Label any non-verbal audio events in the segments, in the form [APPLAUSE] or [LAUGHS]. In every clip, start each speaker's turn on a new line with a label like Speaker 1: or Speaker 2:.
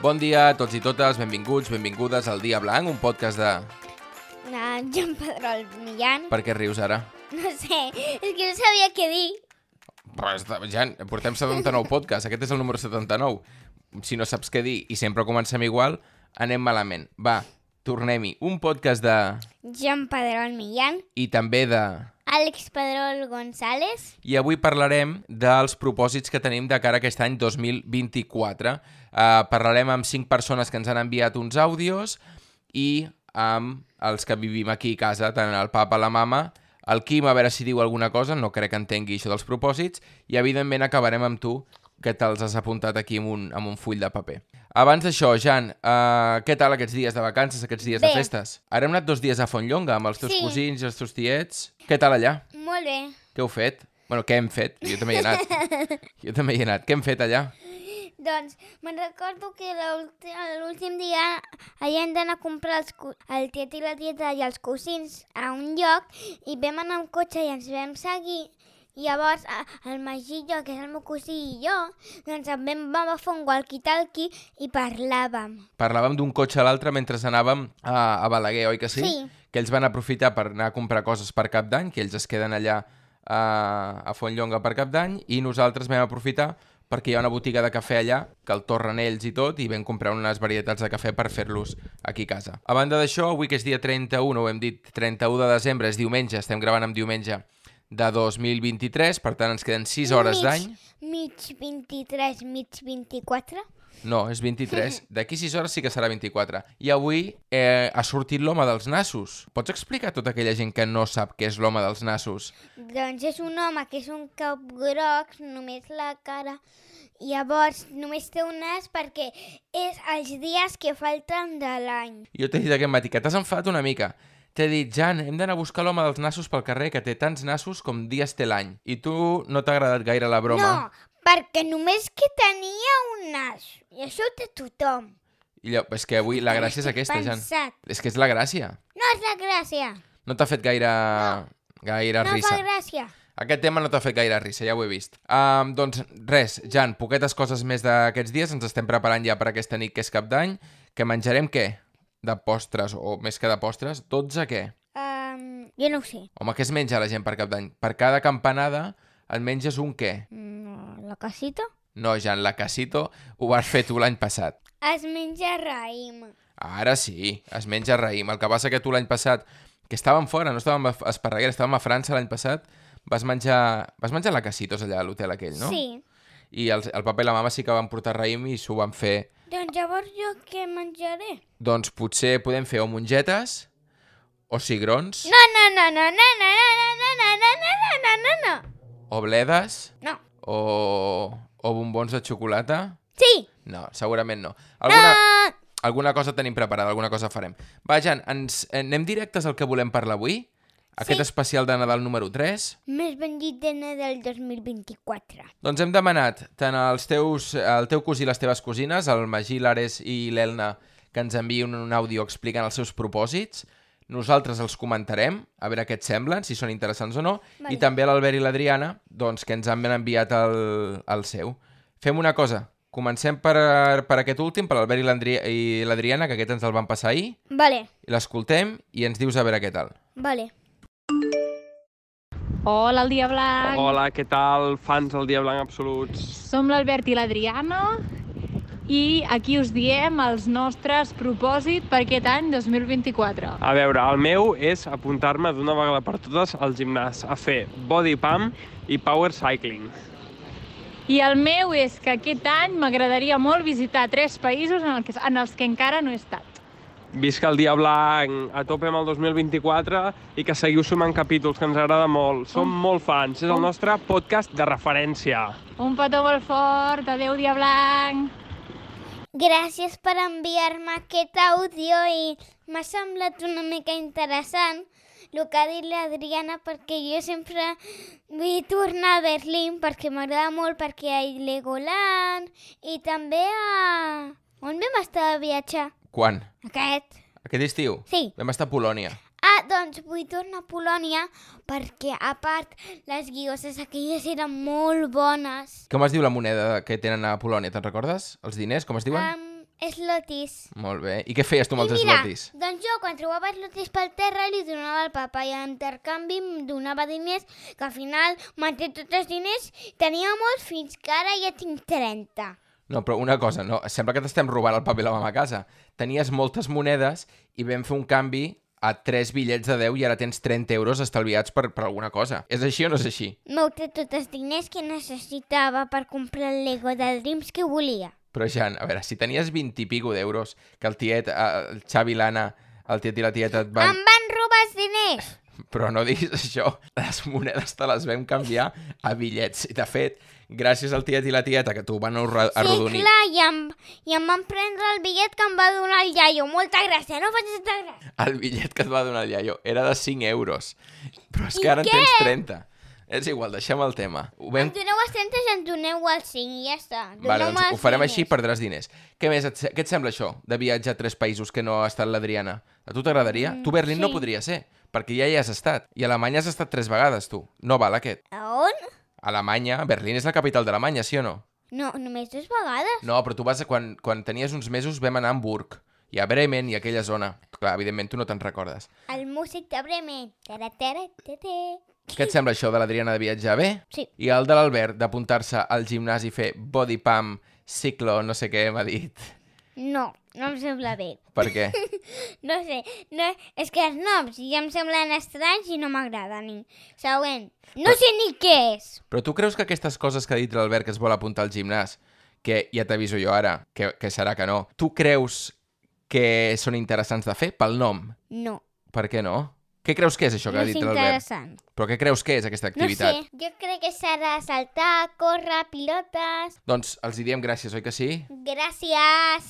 Speaker 1: Bon dia a tots i totes, benvinguts, benvingudes al Dia Blanc, un podcast de...
Speaker 2: No, Joan Pedrol Millán.
Speaker 1: Per què rius ara?
Speaker 2: No sé, és que no sabia què dir.
Speaker 1: Però, està- Jan, portem 79 podcasts, aquest és el número 79. Si no saps què dir i sempre comencem igual, anem malament. Va, tornem-hi. Un podcast de...
Speaker 2: Joan Pedrol Millán,
Speaker 1: i també de...
Speaker 2: Àlex Pedrol González,
Speaker 1: I avui parlarem dels propòsits que tenim de cara a aquest any 2024. Uh, parlarem amb cinc persones que ens han enviat uns àudios i amb els que vivim aquí a casa, tant el papa, la mama, el Quim, a veure si diu alguna cosa, no crec que entengui això dels propòsits, i evidentment acabarem amb tu, que te'ls has apuntat aquí amb un, amb un full de paper. Abans d'això, Jan, uh, què tal aquests dies de vacances, aquests dies
Speaker 2: Bé.
Speaker 1: de festes? Ara hem anat dos dies a Fontlonga amb els teus
Speaker 2: Sí.
Speaker 1: cosins i els teus tiets. Què tal allà?
Speaker 2: molt bé.
Speaker 1: Què heu fet? Bueno, què hem fet? Jo també hi he anat. Jo també hi he anat. Què hem fet allà?
Speaker 2: Doncs me'n recordo que l'últi- l'últim dia allà hem d'anar a comprar els, cu- el tiet i la tieta i els cosins a un lloc i vam anar amb cotxe i ens vam seguir i llavors a- el Magí i jo, que és el meu cosí i jo, doncs em vam fer un walkie-talkie i parlàvem.
Speaker 1: Parlàvem d'un cotxe a l'altre mentre anàvem a, a Balaguer, oi que sí?
Speaker 2: Sí.
Speaker 1: Que ells van aprofitar per anar a comprar coses per cap d'any, que ells es queden allà a, a Fontlonga per cap d'any, i nosaltres vam aprofitar perquè hi ha una botiga de cafè allà, que el torren ells i tot, i vam comprar unes varietats de cafè per fer-los aquí a casa. A banda d'això, avui que és dia 31, ho hem dit, 31 de desembre, és diumenge, estem gravant amb diumenge de 2023, per tant ens queden 6 hores
Speaker 2: Mig-
Speaker 1: d'any.
Speaker 2: Mig 23, mig 24.
Speaker 1: No, és
Speaker 2: [LAUGHS]
Speaker 1: 23. D'aquí 6 hores sí que serà 24. I avui eh, ha sortit l'home dels nassos. Pots explicar a tota aquella gent que no sap què és l'home dels nassos?
Speaker 2: Doncs és un home que és un cap groc, només la cara. i Llavors, només té un nas perquè és els dies que falten de l'any.
Speaker 1: Jo t'he dit aquest matí que t'has enfadat una mica. T'he dit, Jan, hem d'anar a buscar l'home dels nassos pel carrer que té tants nassos com dies té l'any. I tu no t'ha agradat gaire la broma.
Speaker 2: No, perquè només que tenia un nas. I això ho té tothom.
Speaker 1: I llavors, és que avui la gràcia és aquesta, Jan.
Speaker 2: Pensat.
Speaker 1: És que és la gràcia.
Speaker 2: No és la gràcia.
Speaker 1: No t'ha fet gaire... gaire
Speaker 2: no
Speaker 1: risa.
Speaker 2: fa gràcia.
Speaker 1: Aquest tema no t'ha fet gaire risa, ja ho he vist. Um, doncs res, Jan, poquetes coses més d'aquests dies. Ens estem preparant ja per aquesta nit que és cap d'any. Que menjarem què? De postres, o més que de postres, 12 què?
Speaker 2: Um, jo no ho sé.
Speaker 1: Home, què es menja la gent per cap d'any? Per cada campanada et menges un què?
Speaker 2: Mm, la casita?
Speaker 1: No, Jan, la casito ho vas fer tu l'any passat.
Speaker 2: Es menja raïm.
Speaker 1: Ara sí, es menja raïm. El que passa que tu l'any passat, que estàvem fora, no estàvem a Esparreguera, estàvem a França l'any passat, vas menjar, vas menjar la casitos allà a l'hotel aquell, no?
Speaker 2: Sí.
Speaker 1: I el, el papa i la mama sí que van portar raïm i s'ho van fer.
Speaker 2: Doncs llavors jo què menjaré?
Speaker 1: Doncs potser podem fer o mongetes o cigrons,
Speaker 2: No, no, no, no, no, no, no, no, no, no, no, no, no, no,
Speaker 1: o bledes,
Speaker 2: no.
Speaker 1: o, o bombons de xocolata.
Speaker 2: Sí.
Speaker 1: No, segurament no. Alguna,
Speaker 2: Ah,
Speaker 1: alguna cosa tenim preparada, alguna cosa farem. Va, Jan, ens, eh, anem directes al que volem parlar avui? Aquest especial de Nadal número 3?
Speaker 2: més ben dit de del 2024.
Speaker 1: Doncs hem demanat tant als teus, al teu cosí i les teves cosines, el Magí, l'Ares i l'Elna, que ens enviïn un àudio explicant els seus propòsits. Nosaltres els comentarem, a veure què et semblen, si són interessants o no,
Speaker 2: Vale.
Speaker 1: i també l'Albert i l'Adriana, doncs, que ens han ben enviat el, el seu. Fem una cosa, comencem per, per aquest últim, per l'Albert i l'Andri- i l'Adriana, que aquest ens el van passar ahir,
Speaker 2: Vale,
Speaker 1: l'escoltem i ens dius a veure què tal.
Speaker 2: vale.
Speaker 3: Hola, el Dia Blanc!
Speaker 4: Hola, què tal, fans del Dia Blanc Absoluts?
Speaker 3: Som l'Albert i l'Adriana i aquí us diem els nostres propòsits per aquest any 2024.
Speaker 4: A veure, el meu és apuntar-me d'una vegada per totes al gimnàs a fer body pump i power cycling.
Speaker 3: I el meu és que aquest any m'agradaria molt visitar tres països en, el que, en els que encara no he estat.
Speaker 4: Visca el Dia Blanc, a tope amb el 2024 i que seguiu sumant capítols, que ens agrada molt. Som molt fans, és el nostre podcast de referència.
Speaker 3: Un petó molt fort, adeu Dia Blanc!
Speaker 2: Gràcies per enviar-me aquest àudio i m'ha semblat una mica interessant el que ha dit l'Adriana perquè jo sempre vull tornar a Berlín perquè m'agrada molt perquè hi ha Legoland i també a... On vam estar de viatge?
Speaker 1: Quan?
Speaker 2: Aquest?
Speaker 1: Aquest estiu?
Speaker 2: Sí.
Speaker 1: Vam estar a Polònia.
Speaker 2: Ah, doncs vull tornar a Polònia perquè, a part, les guioses aquelles eren molt bones.
Speaker 1: Com es diu la moneda que tenen a Polònia, te'n recordes? Els diners, com es diuen?
Speaker 2: Um, És lotis.
Speaker 1: Molt bé. I què feies tu amb els
Speaker 2: I mira,
Speaker 1: eslotis?
Speaker 2: doncs jo quan trobava eslotis pel terra li donava al papa i en intercanvi em donava diners que al final m'han tret tots els diners. Tenia molts fins que ara ja tinc 30.
Speaker 1: No, però una cosa, no, sembla que t'estem robant el paper de la mama a casa. Tenies moltes monedes i vam fer un canvi a 3 bitllets de 10 i ara tens 30 euros estalviats per, per alguna cosa. És així o no és així?
Speaker 2: M'heu tret tots els diners que necessitava per comprar el Lego del Dreams que volia.
Speaker 1: Però, Jan, a veure, si tenies 20 i pico d'euros que el tiet, eh, el Xavi, l'Anna, el tiet i la tieta et van...
Speaker 2: Em van robar els diners!
Speaker 1: Però no diguis això, les monedes te les vam canviar a bitllets. I, de fet, gràcies al tiet i la tieta que t'ho van arro-
Speaker 2: Sí,
Speaker 1: arrodonir.
Speaker 2: clar, i em, i em van prendre el bitllet que em va donar el iaio. Molta gràcia, no facis tanta gràcia.
Speaker 1: el bitllet que et va donar el iaio era de 5 euros. Però és
Speaker 2: I
Speaker 1: que ara en
Speaker 2: què?
Speaker 1: tens 30. És igual, deixem el tema. Ho, vam...
Speaker 2: Em doneu els 30 i em doneu els 5 i ja està.
Speaker 1: vale,
Speaker 2: Doneu-me
Speaker 1: doncs ho
Speaker 2: els
Speaker 1: farem
Speaker 2: diners.
Speaker 1: així, perdràs diners. Què més? Et, se- què et sembla això, de viatge a tres països que no ha estat l'Adriana? A tu t'agradaria? Mm, tu Berlín no
Speaker 2: sí.
Speaker 1: podria ser, perquè ja hi has estat. I a Alemanya has estat tres vegades, tu. No val aquest.
Speaker 2: A on?
Speaker 1: Alemanya, Berlín és la capital d'Alemanya, sí o no?
Speaker 2: No, només dues vegades.
Speaker 1: No, però tu vas... A, quan, quan tenies uns mesos vam anar a Hamburg i a Bremen i a aquella zona. Clar, evidentment tu no te'n recordes.
Speaker 2: El músic de Bremen. Tara, tara, tara.
Speaker 1: Què et sembla això de l'Adriana de viatjar bé?
Speaker 2: Sí.
Speaker 1: I el de l'Albert d'apuntar-se al gimnàs i fer body pump, ciclo, no sé què m'ha dit.
Speaker 2: No, no em sembla bé.
Speaker 1: Per
Speaker 2: [LAUGHS]
Speaker 1: què?
Speaker 2: No sé, no, és que els noms ja em semblen estranys i no m'agraden. Següent. No sé ni què és.
Speaker 1: Però tu creus que aquestes coses que ha dit l'Albert que es vol apuntar al gimnàs, que ja t'aviso jo ara, que, que serà que no, tu creus que són interessants de fer pel nom?
Speaker 2: No,
Speaker 1: Per què no? Què creus que és això que
Speaker 2: no
Speaker 1: ha
Speaker 2: és
Speaker 1: dit l'Albert?
Speaker 2: interessant.
Speaker 1: Però què creus que és aquesta
Speaker 2: No sé,
Speaker 1: activitat?
Speaker 2: jo crec que serà saltar, córrer, pilotes...
Speaker 1: Doncs els hi diem gràcies, oi que sí?
Speaker 2: Gràcies!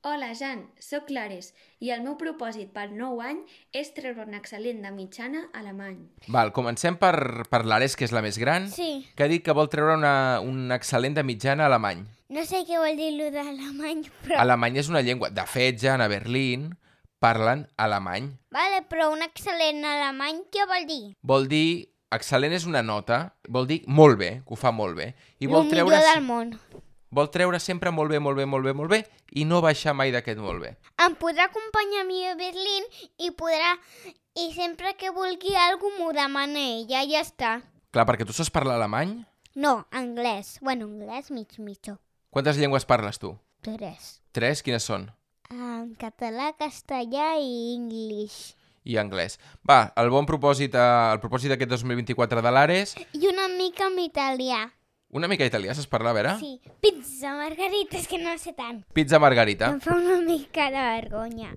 Speaker 5: Hola, Jan, sóc Clares i el meu propòsit pel nou any és treure un excel·lent de mitjana a alemany.
Speaker 1: Val, comencem per, per l'Ares, que és la més gran,
Speaker 2: Sí,
Speaker 1: que ha dit que vol treure una, un excel·lent de mitjana a alemany.
Speaker 2: no sé què vol dir allò d'alemany, però...
Speaker 1: Alemany és una llengua... De fet, ja a Berlín parlen alemany.
Speaker 2: Vale, però un excel·lent alemany què vol dir?
Speaker 1: Vol dir... Excel·lent és una nota, vol dir molt bé, que ho fa molt bé. I vol
Speaker 2: Lo
Speaker 1: treure,
Speaker 2: millor del món.
Speaker 1: vol treure sempre molt bé, molt bé, molt bé, molt bé, i no baixar mai d'aquest molt bé.
Speaker 2: Em podrà acompanyar a mi a Berlín i podrà... I sempre que vulgui alguna m'ho demana ella, ja està.
Speaker 1: Clar, perquè tu saps parlar alemany?
Speaker 2: No, anglès. Bueno, anglès mig mitjó.
Speaker 1: Quantes llengües parles tu?
Speaker 2: Tres.
Speaker 1: Tres? Quines són?
Speaker 2: En català, castellà i anglès.
Speaker 1: I anglès. Va, el bon propòsit, eh, el propòsit d'aquest 2024 de l'Ares,
Speaker 2: I una mica en italià.
Speaker 1: una mica italià, saps parlar, a veure?
Speaker 2: Sí, pizza, margarites, que no sé tant.
Speaker 1: Pizza margarita.
Speaker 2: Em fa una mica de vergonya.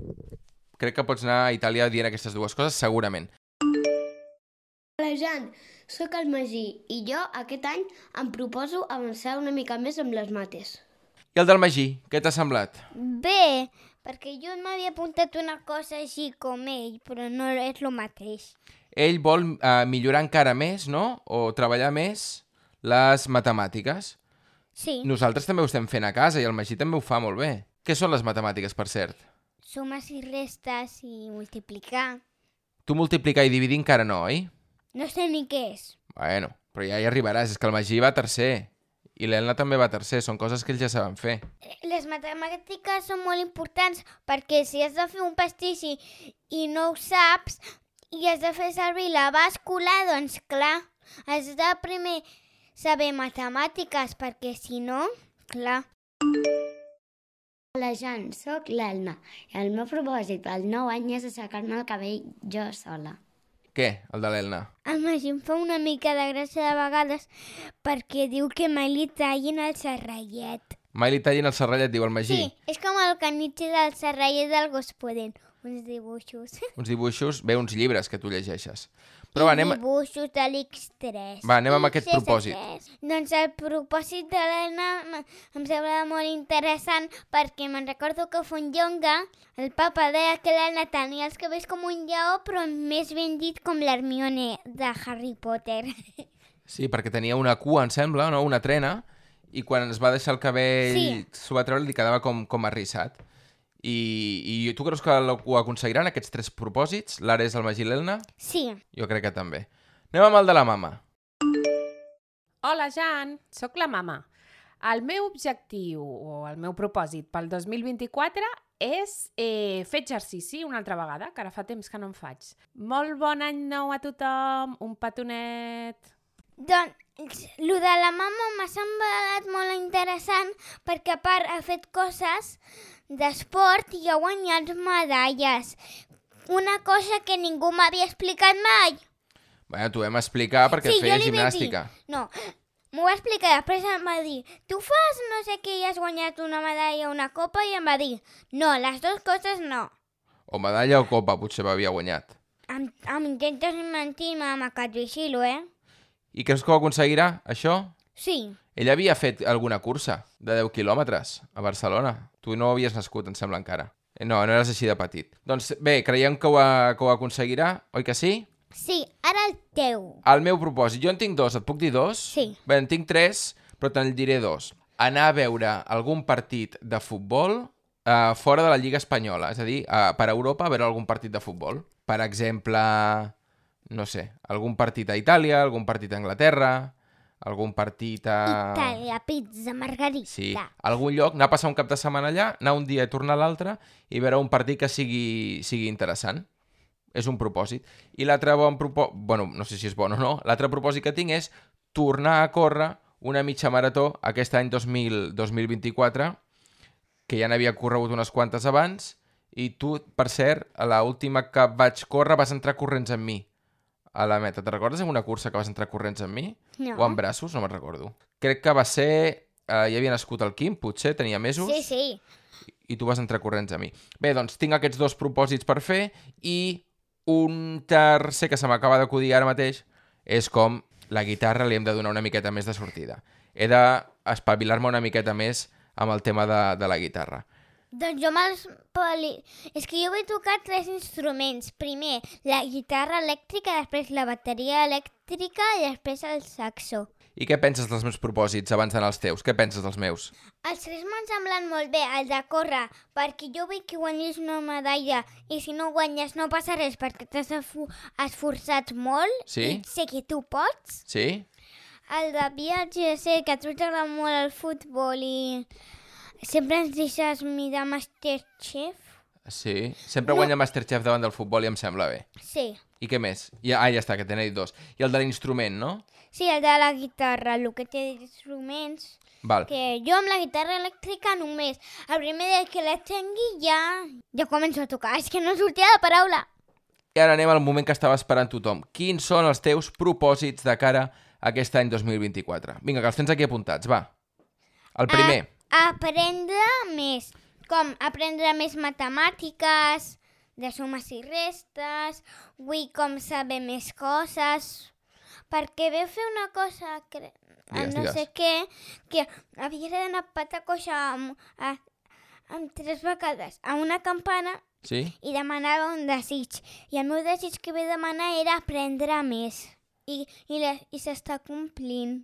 Speaker 1: Crec que pots anar a Itàlia dient aquestes dues coses, segurament.
Speaker 6: Hola Jan, sóc el Magí i jo aquest any em proposo avançar una mica més amb les mates.
Speaker 1: I el del Magí, què t'ha semblat?
Speaker 2: Bé, perquè jo m'havia apuntat una cosa així com ell, però no és el mateix.
Speaker 1: ell vol eh, millorar encara més, no? O treballar més les matemàtiques.
Speaker 2: Sí, no.
Speaker 1: Nosaltres també ho estem fent a casa i el Magí també ho fa molt bé. Què són les matemàtiques, per cert?
Speaker 2: sumes i restes i multiplicar.
Speaker 1: Tu multiplicar i dividir encara no, oi?
Speaker 2: No sé ni què és.
Speaker 1: Bueno, però ja hi arribaràs. És que el Magí va tercer. I l'Elna també va tercer. Són coses que ells ja saben fer.
Speaker 2: Les matemàtiques són molt importants perquè si has de fer un pastís i, i no ho saps i has de fer servir la bàscula, doncs clar, has de primer saber matemàtiques perquè si no, clar,
Speaker 6: Hola Jan, sóc l'Elna i el meu propòsit pel nou any és assecar-me el cabell jo sola.
Speaker 1: Què, el de l'Elna?
Speaker 2: el Magí em fa una mica de gràcia de vegades perquè diu que mai li tallin el serrallet.
Speaker 1: Mai li tallin el serrallet, diu el Magí.
Speaker 2: Sí, és com el caniche del serrallet del gos podent, uns
Speaker 1: [LAUGHS]
Speaker 2: dibuixos.
Speaker 1: Uns dibuixos, bé, uns llibres que tu llegeixes. Però va, anem... a-
Speaker 2: Dibuixos de l'X3.
Speaker 1: Va, anem amb aquest
Speaker 2: Xs3.
Speaker 1: propòsit.
Speaker 2: Doncs el propòsit de l'Helena m- em sembla molt interessant perquè me'n recordo que Fonjonga, el papa deia que l'Helena tenia els cabells com un lleó però més ben dit com l'Hermione de Harry Potter. [LAUGHS]
Speaker 1: Sí, perquè tenia una cua, em sembla, no? Una trena, i quan es va deixar el cabell,
Speaker 2: Sí.
Speaker 1: s'ho va treure i li quedava com, com arrissat. I, I tu creus que lo- ho aconseguiran, aquests tres propòsits? L'Ares, el Magí i l'Elna?
Speaker 2: Sí,
Speaker 1: Jo crec que també. Anem amb el de la mama.
Speaker 7: Hola, Jan, sóc la mama. El meu objectiu o el meu propòsit pel 2024 és eh, fer exercici una altra vegada, que ara fa temps que no en faig. Molt bon any nou a tothom, un petonet!
Speaker 2: Doncs, lo de la mama m'ha semblat molt interessant perquè a part ha fet coses d'esport i ha guanyat medalles. Una cosa que ningú m'havia explicat mai.
Speaker 1: Bueno, t'ho vam explicar perquè
Speaker 2: Sí,
Speaker 1: et feia
Speaker 2: jo li vaig dir.
Speaker 1: gimnàstica.
Speaker 2: No, m'ho va explicar, després em va dir, tu fas no sé què i has guanyat una medalla o una copa i em va dir, no, les dues coses no.
Speaker 1: O medalla o copa, potser m'havia guanyat.
Speaker 2: Em, em intentes mentir, mama, que et vigilo, eh?
Speaker 1: I creus que ho aconseguirà, això?
Speaker 2: Sí,
Speaker 1: Ell havia fet alguna cursa de 10 quilòmetres a Barcelona. Tu no havies nascut, em sembla, encara. Eh, No, no eres així de petit. Doncs bé, creiem que ho, a- que ho aconseguirà, oi que sí?
Speaker 2: sí, ara el teu.
Speaker 1: El meu propòsit, jo en tinc dos, et puc dir dos?
Speaker 2: Sí.
Speaker 1: Bé, en tinc tres, però te'n diré dos. Anar a veure algun partit de futbol eh, fora de la Lliga Espanyola, és a dir, eh, per Europa a veure algun partit de futbol. Per exemple, no sé, algun partit a Itàlia, algun partit a Anglaterra, algun partit a...
Speaker 2: Itàlia, pizza, margarita.
Speaker 1: Ah. Sí, a algun lloc, anar a passar un cap de setmana allà, anar un dia i tornar l'altre i veure un partit que sigui, sigui interessant. És un propòsit. I l'altre bon propòsit... Bueno, no sé si és bon o no. L'altre propòsit que tinc és tornar a córrer una mitja marató aquest any 2000, 2024, que ja n'havia corregut unes quantes abans, i tu, per cert, a la última que vaig córrer vas entrar corrents amb mi a la meta. Te'n recordes en una cursa que vas entrar corrents amb mi?
Speaker 2: No.
Speaker 1: o amb braços, no me'n recordo. Crec que va ser... Eh, ja havia nascut el Quim, potser, tenia mesos,
Speaker 2: Sí, sí.
Speaker 1: i tu vas entrar corrents a mi. Bé, doncs tinc aquests dos propòsits per fer i un tercer que se m'acaba d'acudir ara mateix és com la guitarra li hem de donar una miqueta més de sortida. He d'espavilar-me una miqueta més amb el tema de, de la guitarra.
Speaker 2: Doncs jo me'ls... poli- És que jo vull tocar tres instruments. Primer, la guitarra elèctrica, després la bateria elèctrica i després el saxo.
Speaker 1: I què penses dels meus propòsits abans d'anar als teus? Què penses dels meus?
Speaker 2: Els tres m'han semblat molt bé, el de córrer, perquè jo vull que guanyis una medalla i si no guanyes no passa res perquè t'has esfo- esforçat molt
Speaker 1: Sí.
Speaker 2: i sé que tu pots.
Speaker 1: Sí?
Speaker 2: El de viatge, sé que a tu t'agrada molt el futbol i sempre ens deixes mirar Masterchef.
Speaker 1: Sí? Sempre no. guanya Masterchef davant del futbol i em sembla bé.
Speaker 2: Sí,
Speaker 1: I què més? Ja, ah, ja està, que te n'he dit dos. I el de l'instrument, no?
Speaker 2: sí, el de la guitarra, el que té instruments.
Speaker 1: Val.
Speaker 2: Que jo amb la guitarra elèctrica només, el primer dia que la tingui ja, ja començo a tocar. És que no sortia la paraula.
Speaker 1: I ara anem al moment que estava esperant tothom. Quins són els teus propòsits de cara a aquest any 2024? Vinga, que els tens aquí apuntats, va. El primer.
Speaker 2: A aprendre més, com aprendre més matemàtiques, de sumes i restes, vull com saber més coses, perquè veu fer una cosa, cre...
Speaker 1: Digues,
Speaker 2: no
Speaker 1: digues.
Speaker 2: sé què, que havia d'anar a patar coixa amb, a, amb tres vegades a una campana
Speaker 1: Sí?
Speaker 2: i demanava un desig. I el meu desig que vaig demanar era aprendre més. I, i, la- i s'està complint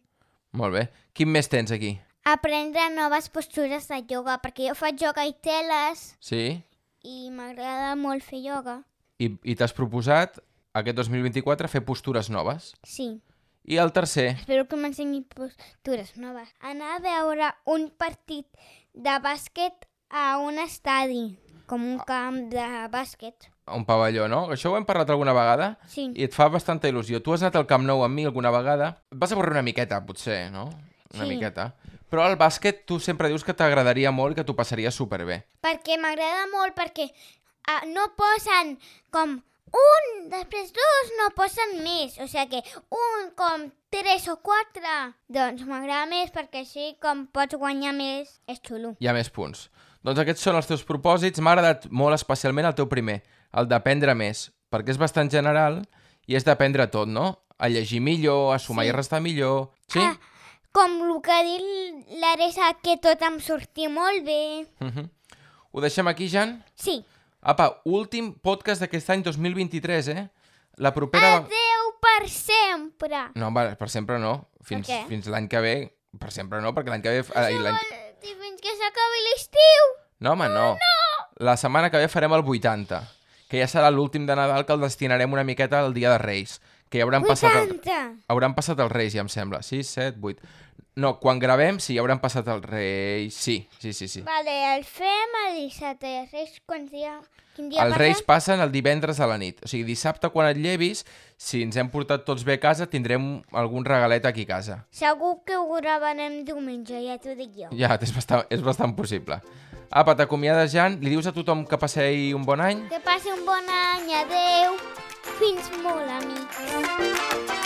Speaker 1: Molt bé. Quin més tens aquí?
Speaker 2: aprendre noves postures de ioga, perquè jo faig ioga i teles
Speaker 1: Sí?
Speaker 2: i m'agrada molt fer ioga.
Speaker 1: I, i t'has proposat aquest 2024 fer postures noves.
Speaker 2: Sí,
Speaker 1: I el tercer?
Speaker 2: espero que m'ensenyi postures noves. Anar a veure un partit de bàsquet a un estadi, com un camp de bàsquet.
Speaker 1: Un pavelló, no? Això ho hem parlat alguna vegada
Speaker 2: Sí,
Speaker 1: i et fa bastanta il·lusió. Tu has anat al Camp Nou amb mi alguna vegada. Et vas avorrir una miqueta, potser, no? Una
Speaker 2: Sí.
Speaker 1: miqueta. Però el bàsquet tu sempre dius que t'agradaria molt i que t'ho passaria superbé.
Speaker 2: perquè m'agrada molt, perquè ah, no posen com un, després dos, no posen més. O sigui que un com tres o quatre. Doncs m'agrada més perquè així com pots guanyar més és xulo.
Speaker 1: Hi ha més punts. Doncs aquests són els teus propòsits. M'ha agradat molt especialment el teu primer, el d'aprendre més, perquè és bastant general i és d'aprendre tot, no? A llegir millor, a sumar sí. i restar millor... Sí?
Speaker 2: Ah. Com el que ha dit l'Aresa, que tot em sortia molt bé.
Speaker 1: Uh -huh. Ho deixem aquí, Jan?
Speaker 2: Sí.
Speaker 1: Apa, últim podcast d'aquest any 2023, eh? La
Speaker 2: Ah,
Speaker 1: propera... ve-
Speaker 2: Adeu per sempre.
Speaker 1: No, home, per sempre no. Fins,
Speaker 2: Per què?
Speaker 1: fins l'any que ve... Per sempre no, perquè l'any que ve... Ai, l'any...
Speaker 2: Vol Oh, dir Fins que s'acabi l'estiu.
Speaker 1: No, home, no. no. La setmana que ve farem el 80, que ja serà l'últim de Nadal que el destinarem una miqueta al Dia de Reis, que ja hauran passat... El...
Speaker 2: 80!
Speaker 1: Hauran passat els Reis, ja em sembla. 6, 7, 8... No, quan gravem, sí, hauran passat els Reis. Sí, sí, sí. sí.
Speaker 2: Vale, el fem el dissabte. I els Reis, quants dia... quin dia
Speaker 1: Els
Speaker 2: passa?
Speaker 1: Reis passen el divendres a la nit. O sigui, dissabte, quan et llevis, si ens hem portat tots bé a casa, tindrem algun regalet aquí a casa.
Speaker 2: Segur que ho gravarem diumenge, ja t'ho dic jo.
Speaker 1: Ja, és bastant, és bastant possible. Apa, t'acomiades, Jan. Li dius a tothom que passei un bon any?
Speaker 2: Que passi un bon any, adeu. Fins molt, amics.